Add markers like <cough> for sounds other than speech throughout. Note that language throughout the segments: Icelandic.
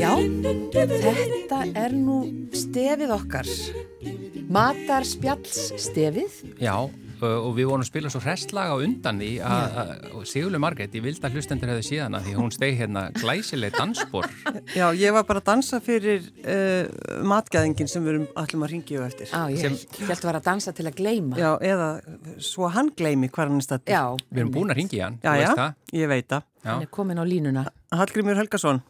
Já, þetta er nú stefið okkar. Matar spjalls stefið. Já, ö, og við vorum að spila svo hrestlag á undan því að að- og Sigurlu Margrét, ég vildi að hlustendur hefði síðan að því hún stegi hérna glæsileg dansbor Já, ég var bara að dansa fyrir uh, matgæðingin sem við erum allum að ringja eftir. Á, ég Sem- held að vera að dansa til að gleyma. Já, eða svo hann gleymi hvar hann er stættur. Já, Við erum búin að ringi hann, já, þú já veist það ég veit það. hann Já. er komin á línuna. Hallgrímur Helgason.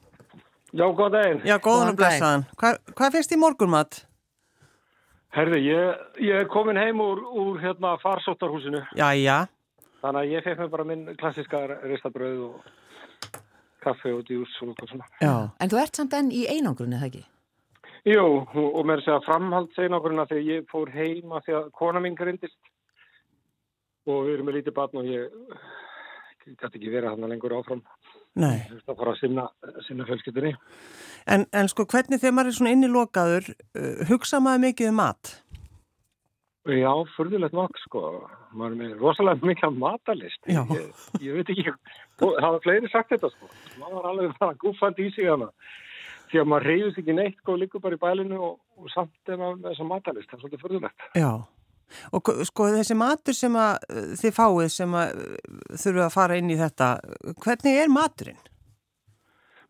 Já, góð daginn. Já, góðan Góðan og blessaðan. Hva, hvað finnst í morgunmat? Herði, ég, ég er komin heim úr, úr hérna farsóttarhúsinu, Já, já. þannig að ég fekk mér bara minn klassiska ristabröð og kaffe og djús og eitthvað svona. Já. En þú ert samt enn í einangrun, eða ekki? Jú, og og mér er að segja framhald seinagurinn að þegar ég fór heim að því að kona mín grindist og við erum með lítið barn og ég gæti ekki verið hann lengur áfram. Nei. Þú veist að fara að sinna, sinna fjölskyldinni. En, en sko, hvernig þegar maður er svona innilokaður, uh, hugsa maður mikið um mat? Já, furðulegt nokk, sko. Maður er með rosalega mikla matalist. Já. Ég, ég veit ekki, og það var fleiri sagt þetta, sko. Maður var alveg bara gúfandi í sig hana. Því að maður reyðist ekki neitt, sko, liggur bara í bælinu og, og samt er maður með þessa matalist. Það er svolítið furðulegt. Já. Og k- sko, þessi matur sem að uh, þið fáið sem að uh, þurfa að fara inn í þetta, uh, hvernig er maturinn?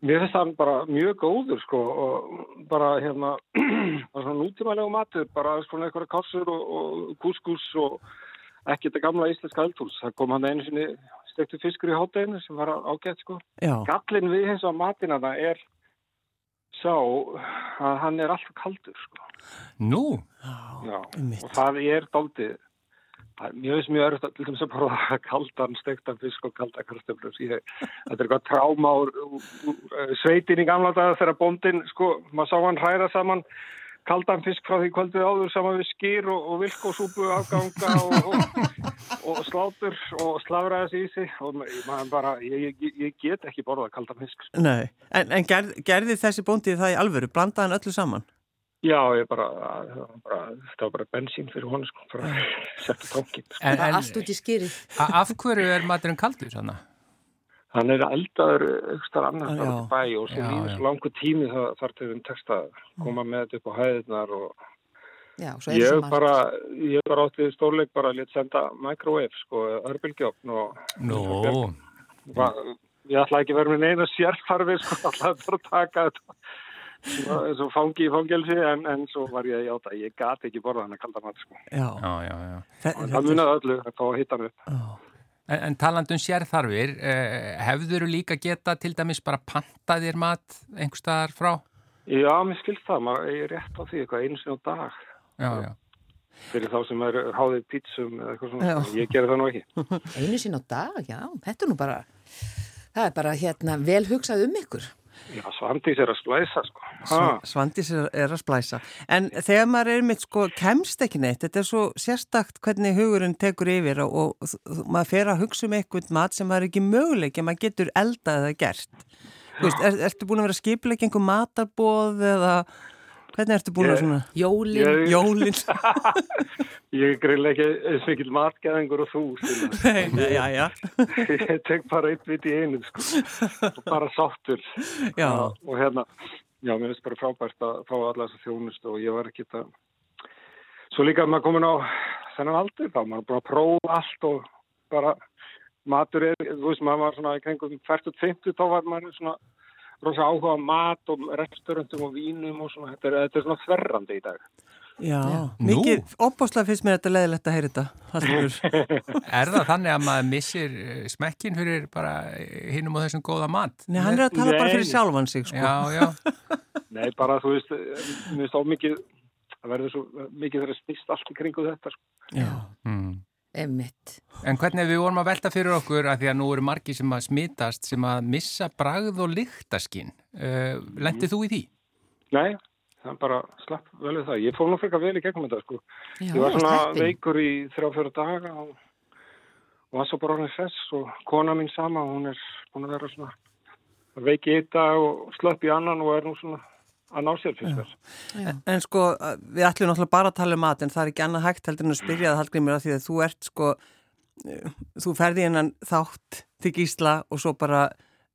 Mér finnst það bara mjög góður, sko, og bara, hérna, <clears throat> bara svona nútímalegu matur, bara svona einhverja kassur og, og kúskús og ekki þetta gamla íslenska eldhús. Það kom hann einu sinni stektu fiskur í hátteginu sem var ágætt, sko. Já. Gallin við hins og matina það er sá að hann er alltaf kaldur sko. Nú, Já, einmitt. og það er daldið það er mjög mjög örst til þess að bara <laughs> kaldan stektan fisk og kalda kartöflur Ég- þetta er eitthvað tráma úr, úr, úr sveitin í gamla daga þegar bóndin sko, maður sá hann hræra saman kaldan fisk frá því kvöldið áður saman við skýr og, og vilkosúpu afganga og, og, og slátur og slafraði sig í sig og maður bara, ég, ég, ég get ekki borðað kaldan fisk sko. Nei. En, en gerð, gerði þessi bóndið það í alvöru? Blandaði hann öllu saman? Já, ég bara, bara þetta var bara bensín fyrir honum sko, bara <laughs> setja tankin. Sko. en, Bara en allt út í skýrið. a- af hverju er maturinn kaldur þannig? Hann er eldaður aukstar annars Já. þar út í bæ og svo Já, líður já. svo langu tími það þar til þeim texta að koma með þetta upp á hæðirnar og Já, svo er ég það bara, ég bara átti við stórleik bara létt senda microwave sko, örbylgjófn og Nú, va, ég ætlaði ekki að vera með neina sérfarfi sko, <laughs> ætlaði bara að taka þetta svona eins og fangi í fangelsi en, en svo var ég að játa, ég gati ekki borða hann að kalda mat sko. Já. já, já, já Þe- þetta- Það munaði öllu að fá að hitta hann upp. Já. En, en talandum sérþarfir, eh, hefðuru líka geta til dæmis bara panta þér mat einhverstaðar frá? Já, mér skilst það, maður eigi rétt á því eitthvað einu sinni á dag Já, já. fyrir þá sem er háðið pítsum eða eitthvað svona, Já. ég gerði það nú ekki. Einu sín á dag, já, þetta er nú bara, það er bara hérna vel hugsað um ykkur. Já, svandís er að slæsa, sko. Ha, Sva- Svandís er, er að splæsa. En þegar maður er mitt sko kemst ekki neitt, þetta er svo sérstakt hvernig hugurinn tekur yfir og, og þ- þ- maður fer að hugsa um eitthvað mat sem maður er ekki möguleik en maður getur eldað eða gert. Þú Veist, er, ertu búin að vera skipileg einhver matarboð eða hvernig ertu búin að Ég- svona Jólin, ég, jólinn? ég er greinlega ekki eins mikil matgeðingur og þú, Stína. <laughs> Nei, nei, já, já, <laughs> ég tek bara eitt vit í einu, sko, og bara sáttur. já, Og hérna, já, mér finnst bara frábært að fá alla þessa þjónustu og ég var ekki þetta. Svo líka að maður komin á þennan aldur þá, maður er búin að prófa allt og bara matur er, þú veist, maður var svona í kringum 40-50, þá var maður svona rosa áhuga á mat og restaurantum og vínum og svona, þetta er, þetta er svona þverrandi í dag. já. Nú. Mikið, opbáslega finnst mér þetta leðilegt að heyra þetta. Hallgrímur. Er það þannig að maður missir eh, smekkin fyrir bara eh, hinum og þessum góða mat? Nei, hann er að tala bara Nei. fyrir sjálfan sig sko. Já, já, Nei, bara þú veist, eh, mér finnst á mikið, það verður svo mikið þegar snýst allt í kringu þetta, sko. já. mm. emmitt. En hvernig við vorum að velta fyrir okkur að því að nú eru margi sem að smitast sem að missa bragð og lyktaskinn uh, Lendið þú í því? Nei, það er bara slapp vel við það. Ég fór nú frekar vel í gegnum þetta, sko. Já, Ég var svona sleppin. veikur í þrjá fjóra daga og, og var svo bara orðin þess og kona mín sama, hún er búin að vera svona að veiki í þetta og slöpp í annan og er nú svona að ná sér fyrst þess. En, en sko, við ætlum náttúrulega bara að tala um mat en það er ekki annað hægt heldur en að spyrja það Hallgrímur að því að þú ert sko eh, þú ferði innan þátt til Gísla og svo bara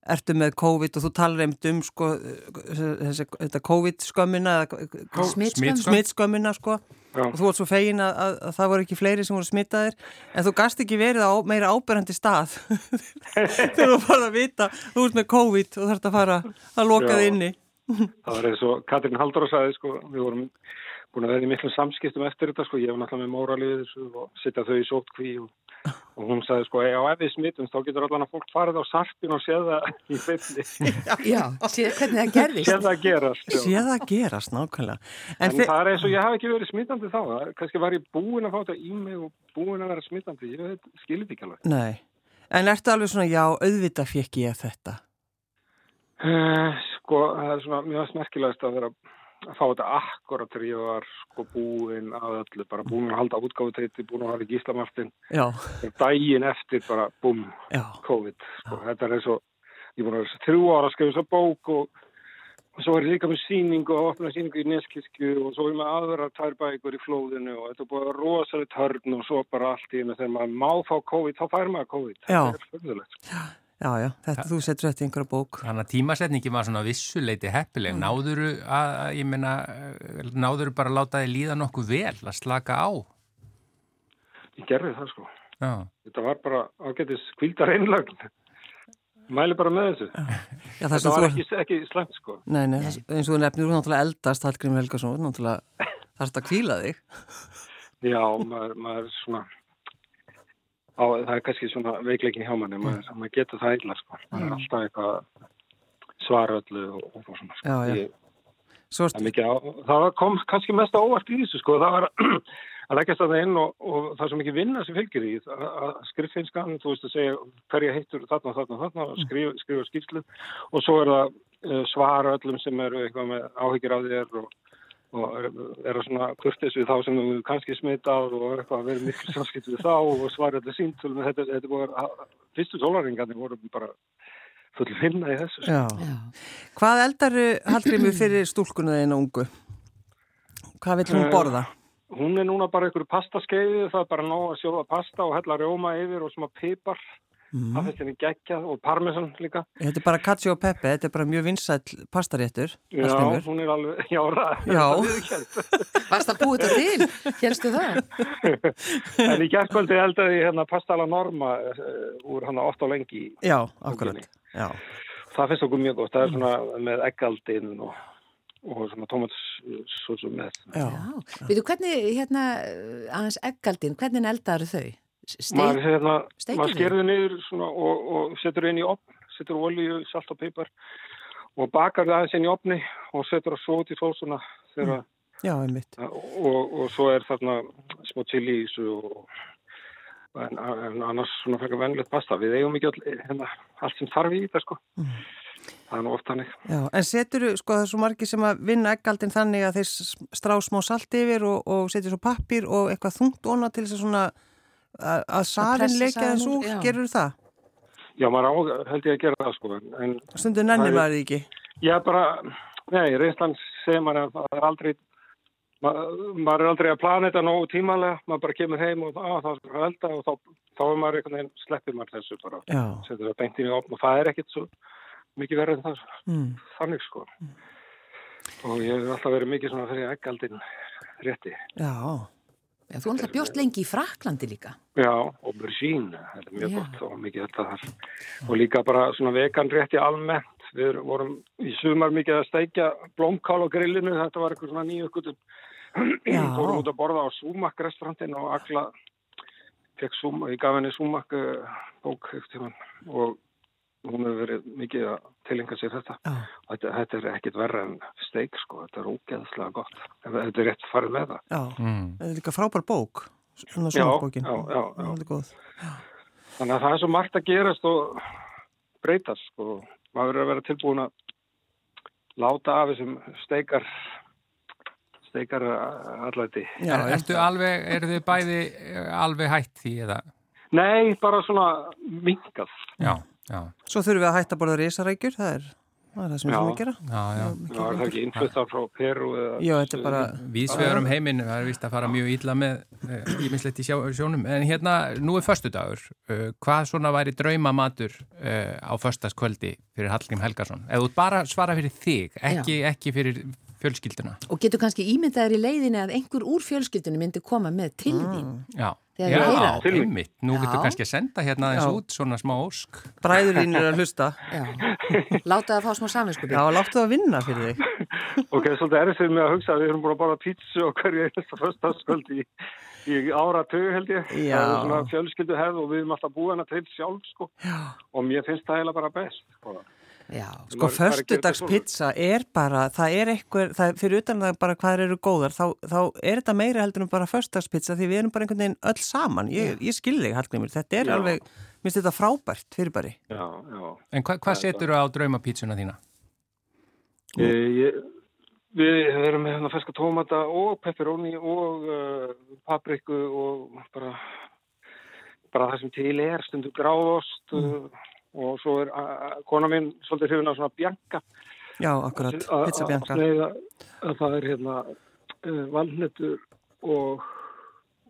ertu með COVID og þú talar einmitt um sko eh, þessi, þetta COVID skömmina Smitskömm. smitt skömmina sko Já. og þú ert svo fegin að, að, að það voru ekki fleiri sem voru smitaðir en þú gast ekki verið á meira áberandi stað <laughs> þegar þú farið að vita þú ert með COVID og þarf að fara að loka Já. þið inni Það var eins og Katrín Halldóra sagði, sko, við vorum búin að vera í miklum samskiptum eftir þetta, sko, ég var náttúrulega með móralið þessu og setja þau í sótkví og, og hún sagði, sko, já, ef við smittum, þá getur allan að fólk farið á sarpin og séð það í fyrli, Já, sé hvernig það gerðist. séð það gerast. já. sé það gerast nákvæmlega En, þi- það er eins og ég hafi ekki verið smittandi þá, það er- kannski var ég búin að fá þetta í mig og búin að vera smittandi, ég veit, skilði ekki alveg. Nei, en ertu alveg svona, já, auðvitað fekk ég þetta. Eh, Sko, það er svona mjög smerkilegast að vera að fá þetta akkurat þegar ég var sko búin að öllu, bara búin að halda útgáfutæti, búin að hafa í gíslamartin Já, daginn eftir bara búm, já, COVID sko. þetta er eins og, ég er búin að vera þrjú ára að skrifa þessa bók og, og svo er ég líka með síningu og opna síningu í Neskirkju og svo er ég með aðra tær bækur í flóðinu og þetta er búin að vera rosalega törn og svo bara allt í einu þegar maður má fá COVID, þá fær maður COVID Já. þetta er förðulegt sko. já, já, þetta þú setur þetta í einhverja bók. Þannig að tímasetningi var svona vissuleiti heppileg. Náðuru að, að- ég meina, eh, náðuru bara að láta þið líða nokkuð vel, að slaka á. ég gerði það sko Já. þetta var bara ágætis kvíldar einlögn mæli bara með þessu Já, það þetta sem þú var ert, ekki, ekki slæmt sko nei, nei, eins og þú nefnir, þú er náttúrulega eldast, Hallgrím Helgason, þú er <laughs> náttúrulega, þarfst að kvíla þig. Já, maður, maður svona á, það er kannski svona veikleikin hjá manni, maður, maður getur það illa sko, maður er alltaf eitthvað að svara öllu og, og svona sko. Já, já. Ég, Svo það, er ert, mikið á, það var- kom kannski mest á óvart í þessu sko, það var <clears throat> að leggja það inn og, og það er svo mikið vinna sem fylgir í að- að skriffinskan, þú veist að segja hverja heitur þarna, þarna, þarna, og skrifa, skrifa skýrslu og svo er það eh, svara öllum sem eru eitthvað með áhyggjur af þér og og er er að svona kurtis við þá sem þú kannski smitað og er eitthvað að vera miklu samskipt við þá og svara öllu síntölum þetta, þetta voru, fyrstu sólaringandi voru bara full vinna í þessu sko. já. Já. Hvað eldaru Hallgrímur fyrir stúlkunu þeina ungu? Hvað vill hún Eh, borða? Hún er núna bara ykkur pastaskeiði, það er bara nóg að sjóða pasta og hella rjóma yfir og smá pipar, Mhm. Mm. það finnst henni geggjað og parmesan líka. Þetta er bara Katsi og Peppe, þetta er bara mjög vinsæll pastaréttur, Já, Hallgrímur. hún er alveg, <laughs> já, ræð. Já. Varst það búið þetta til? Hérstu það? En í gerðkvöldi eldaði ég hérna pasta alla norma uh, úr hann átt á lengi. Já, akkurat, já. Það finnst okkur mjög gott, það er Mm. svona með eggaldin og, og svona tomatsósu með. Já, Já. Veitu, hvernig, hérna, aðeins eggaldin, hvernig eldaru þau? Maður, Steik? hérna, Steikir maður þau? skerður niður svona, og, og setur inn í opn, setur olíu, salt og pipar og bakar það aðeins inn í opni og setur það svo út í sósuna Mm. þegar, já, einmitt. og, og svo er þarna smá chili í þessu og en, en annars svona frekar vennilegt pasta. Við eigum ekki all, hérna, allt sem þarf í þetta sko. Það er nú oft hannig. Já, en setur þú, sko, það er svo margi sem að vinna eggaldin þannig að þeir s- strá smá salt yfir og, og setur svo pappir og eitthvað þungt óna til þess að svona að, að safin pressa leikja safann þess úr, úr, já. gerur það? Já, maður á, held ég að gera það sko. en- En Stundur nennir Það er- maður því ekki. Ég er bara, nei, reynslan segir maður að það er aldrei, maður, maður er aldrei að plana þetta nógu tímalega, maður bara kemur heim og á, það er elda og þá, þá er maður einhvern veginn, sleppir maður þessu bara, Já, setur það beint inn í opn og það er ekkit svo mikið verður en það, mm. þannig sko. Og ég hef alltaf verið mikið svona fyrir eggaldin rétti. já, Já, þú náttúrulega bjóst lengi í Fraklandi líka. Já, og bursín, þetta er mjög Já. gott og mikið þetta þar. Og líka bara svona vegan rétti almennt. Við vorum í sumar mikið að steikja blómkál á grillinu, þetta var eitthvað svona nýju skutum. Já. Fórum út að borða á Sumak restaurantin og alla fekk Sumak, ég gaf henni Sumak eh, bók eftir tíman og hún hefur verið mikið að tilenga sér þetta. já, þetta. Þetta er ekkit verra en steik sko, þetta er ógeðslega gott. Þetta er rétt farið með það. já. Mm. Þetta er líka frábær bók, svona Já, svona bókin. já, já, já. Hún er góð. Þannig að það er svo margt að gerast og breytast sko. Maður verður að vera tilbúin að láta af þessum steikar, steikar eh, allæti. Já, er, já. ertu alveg, eru þið bæði eh, alveg hætt því eða? Nei, bara svona mingað. Já, já, Svo þurfum við að hætta að borða risarækjur, það er það, er það sem við Já. þurfum að gera. já, já. Já, er það ekki innfluttar frá Peru eða... Já, þetta er bara, Vísvegar um heiminn, það er vist að fara mjög illa með eh, ímislegt í sjá, sjónum. En hérna, nú er föstudagur. Eh, Hvað svona væri draumamatur eh, á föstaskvöldi fyrir Hallgrím Helgason? Ef þú bara svara fyrir þig, ekki, ekki fyrir fjölskylduna. Og getur kannski ímyndaður í leiðinni að einhver úr fjölskyldinu myndi koma með til þín. Já, Þegar já, ég heyra þetta. einmitt. Nú Já. getur kannski að senda hérna Já. aðeins út svona smá ósk. bræður þín eru að hlusta. Já. <laughs> Láta það fá smá samvinskupið. Já, láttu það að vinna fyrir þig. Ok, svolítið erfið fyrir mig að hugsa að við erum búin að bara pítsu og hverju einasta föstaskvöld í, í ára tögu held ég. Já. Það er svona fjölskyldu hefð og við erum alltaf búin að til sjálf sko. Já. Og mér finnst það heila bara best. Sko, Já. Sko, föstudagspizza er bara, það er eitthvað, það er fyrir utan það bara hvað þær eru góðar, þá, þá er þetta meira heldur en bara föstudagspizza því við erum bara einhvern veginn öll saman. Ég, ég skil þig, Hallgrímur, þetta er Já. alveg, minnst þetta frábært fyrir bara. Já, já. En hva, hvað setur þú á draumapítsuna þína? Ég, ég, við erum með hérna ferska tómata og pepperoni og uh, papriku og bara, bara það sem til er, stundum gráðost uh, og svo er uh, kona mín svolítið hrifin af svona bjanka. Já, akkurat, Að- pizza að- bjanka. Nei, að, að það er hérna uh, valnetur og,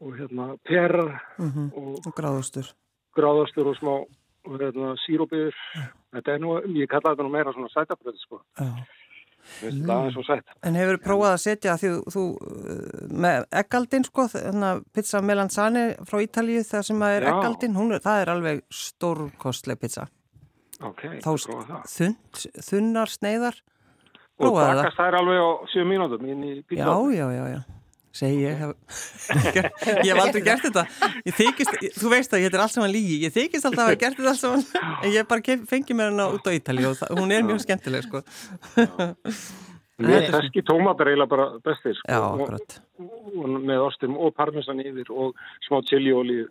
og hérna perar og Og gráðustur. gráðostur og smá og hérna, sírópiður. Þetta er nú, ég kalla þetta nú meira svona sætabröð, sko. Já. Mér finnst Það er svo sætt. En hefur prófað að setja því þú, þú uh, með ekkaldin sko, þannig að pizza melanzani frá Ítalíu það sem að er Já. ekkaldin, hún er, það er alveg stórkostleg pizza. Ok, Þá ég prófa það. þund, þunnar sneiðar, Og prófaðu það. bakast þær alveg á 7 mínútum inn í já, pizza. já, já, já. Segi ég, hef, <laughs> ég hef aldrei gert þetta. Ég Þykist, ég- þú veist að ég þetta er allt saman lígi, ég þykist alltaf að hafa gert þetta allt saman, en ég bara kef, fengi mér hana út á Ítalíu og það, hún er mjög skemmtileg sko. Mér ferski tómatar eiginlega bara bestir. Sko. Já, Og- akkurat. og Með ostum og parmesan yfir og smá chiliolíu.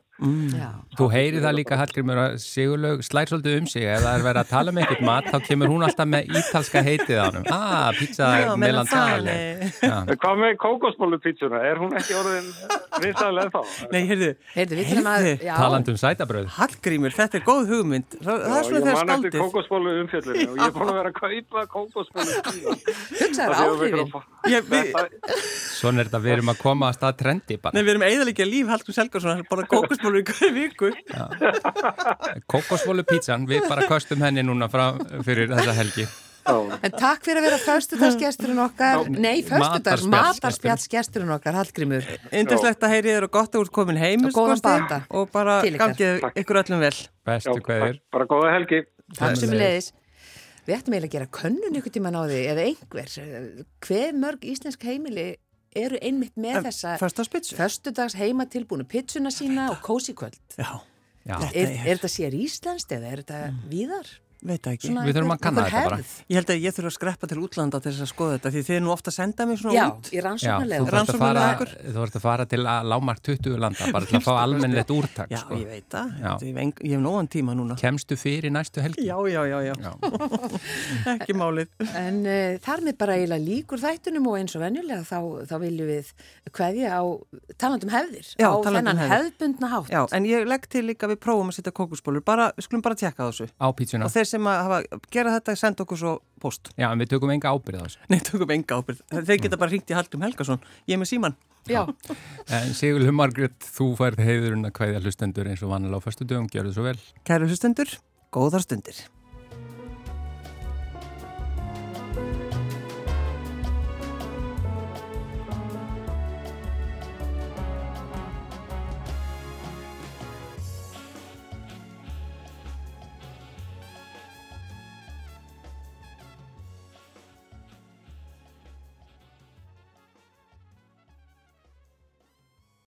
Já. Þú heyri það líka, Hallgrímur, að Sigurlaug slær svolítið um sig. Ef það er verið að tala með eitthvað mat, þá kemur hún alltaf með ítalska heitið á hennum. Ah, pizza Já, melanzane. melanzani. Já. En Hvað með kókosbólu pizzuna? Er hún ekki <laughs> orðin vinsæðilega þá? Nei, heyrðu, Heyrðu, við þurfum að... Já. Taland um sætabröð. Hallgrímur, þetta er góð hugmynd. Það, það er svona ég þegar man eftir skaldið. kókosbólu umfjöllinu og ég er búin að vera að kaupa kókosbólu <laughs> Hugsaðu áhrifin. Ég, við, Svona er þetta við erum að koma að stað trendi nei, bara. við erum eiginlega líf Hallgrímur Selgarsson, hann borða kókosbólur í hverju viku. Kokosvólu pizzan, við bara köstum henni núna frá, fyrir þessa helgi. En takk fyrir að vera föstudagsgesturinn okkar, nei, föstudags, Matarspjallsgesturinn. matarspjallsgesturinn okkar, Hallgrímur. Yndislegt að heyri þér og gott að úr komin heim. Og góðan sko, bata. Og bara Til ykkar. gangið ykkur öllum vel. Bestu hverjir. Bara góða helgi. Takk sem Sömuleiðis. leiðis. Við ættum eiginlega að gera könnun ykkur tíma náði, eða einhver, hver mörg íslensk heimili eru einmitt með þessa Fyrst á spitsu. föstudags heima tilbúinu pitsuna sína og kósiköld. Já, Já. Þetta Er, er- er þetta sér íslenskt eða er þetta víðar? veit það ekki. Svona Mm. Við þurfum að einhver- kanna einhver þetta bara. hefð? Ég held að ég þurfa að skreppa til útlanda til þess að skoða þetta því þið er nú ofta að senda mér svona Já, út. í Já, þú rannsóknarlega. þarfst að fara, Rannsóknarleikur. þú þarfst að fara til að lámark 20 landa bara til að fá almennilegt úrtak Já, sko. ég veit það. Já. Ég, hef eng- ég hef nógan tíma núna. Kemstu fyrir næstu helgi? Já, já, já, já. ekki málið. En uh, þar með bara eiginlega líkur þættunum og eins og venjulega þá, þá viljum við kveðja á talandum hefðir. Já, á talandi um þennan hefðir. hefðbundna hátt. Já, en ég legg til líka að við prófum að setja kókosbólur. Bara, við skulum bara tjekka á þessu. Á pítsuna. Og þeir sem að hafa, gera þetta, senda okkur svo post. Já, en við tökum enga ábyrð á þessu. <laughs> Nei, tökum enga ábyrð. Þeir geta bara hringt í Haldum Helgason. Ég er með síman. Já. En Sigurlu Margrét, þú færð heiðurinn að kveðja hlustendur eins og vannilega á fyrstu dögum, gjörðu svo vel. Kæru hlustendur, góðar stundir.